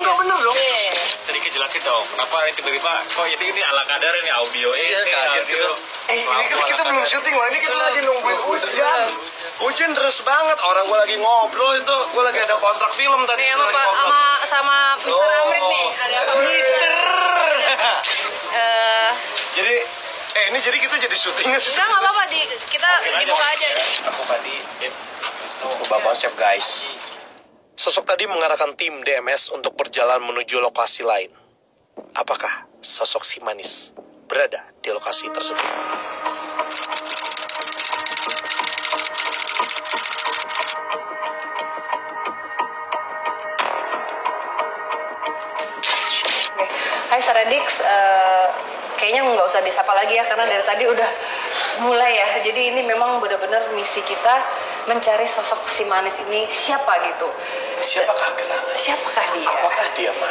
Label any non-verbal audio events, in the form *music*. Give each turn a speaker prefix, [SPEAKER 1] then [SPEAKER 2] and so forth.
[SPEAKER 1] bener dong.
[SPEAKER 2] Iya.
[SPEAKER 3] Sedikit jelasin dong, kenapa tiba-tiba kok ini ini ala kadar ini audio ini
[SPEAKER 2] Iya, kaget
[SPEAKER 3] audio.
[SPEAKER 2] gitu.
[SPEAKER 1] Eh, ini kan
[SPEAKER 3] Lampu
[SPEAKER 1] kita
[SPEAKER 3] ala
[SPEAKER 1] belum
[SPEAKER 2] Iya.
[SPEAKER 3] kadar.
[SPEAKER 1] syuting loh. Ini kita lagi nungguin
[SPEAKER 2] Belum,
[SPEAKER 1] hujan.
[SPEAKER 2] belum.
[SPEAKER 1] Hujan deras banget. Orang gua lagi ngobrol itu, gua lagi ada kontrak film tadi.
[SPEAKER 2] Nih
[SPEAKER 1] gua
[SPEAKER 2] sama
[SPEAKER 1] lagi
[SPEAKER 2] Pak-
[SPEAKER 1] ngobrol.
[SPEAKER 2] sama sama Mr.
[SPEAKER 1] Oh,
[SPEAKER 2] Amrit nih ada apa?
[SPEAKER 1] Mister. *laughs*
[SPEAKER 2] Eh,
[SPEAKER 1] jadi, eh ini jadi kita jadi syutingnya sih.
[SPEAKER 2] enggak enggak apa-apa di kita
[SPEAKER 3] Masukin
[SPEAKER 2] dibuka aja. ya.
[SPEAKER 3] Aku tadi itu
[SPEAKER 1] Ubah konsep guys. Sosok tadi mengarahkan tim DMS untuk berjalan menuju lokasi lain. Apakah sosok si manis berada di lokasi tersebut?
[SPEAKER 2] Oke. Hai Saradix, eh, kayaknya nggak usah disapa lagi ya karena dari tadi udah mulai ya. Jadi ini memang benar-benar misi kita mencari sosok si manis ini siapa gitu.
[SPEAKER 1] Siapakah gerangan?
[SPEAKER 2] Siapakah dia?
[SPEAKER 1] Apakah dia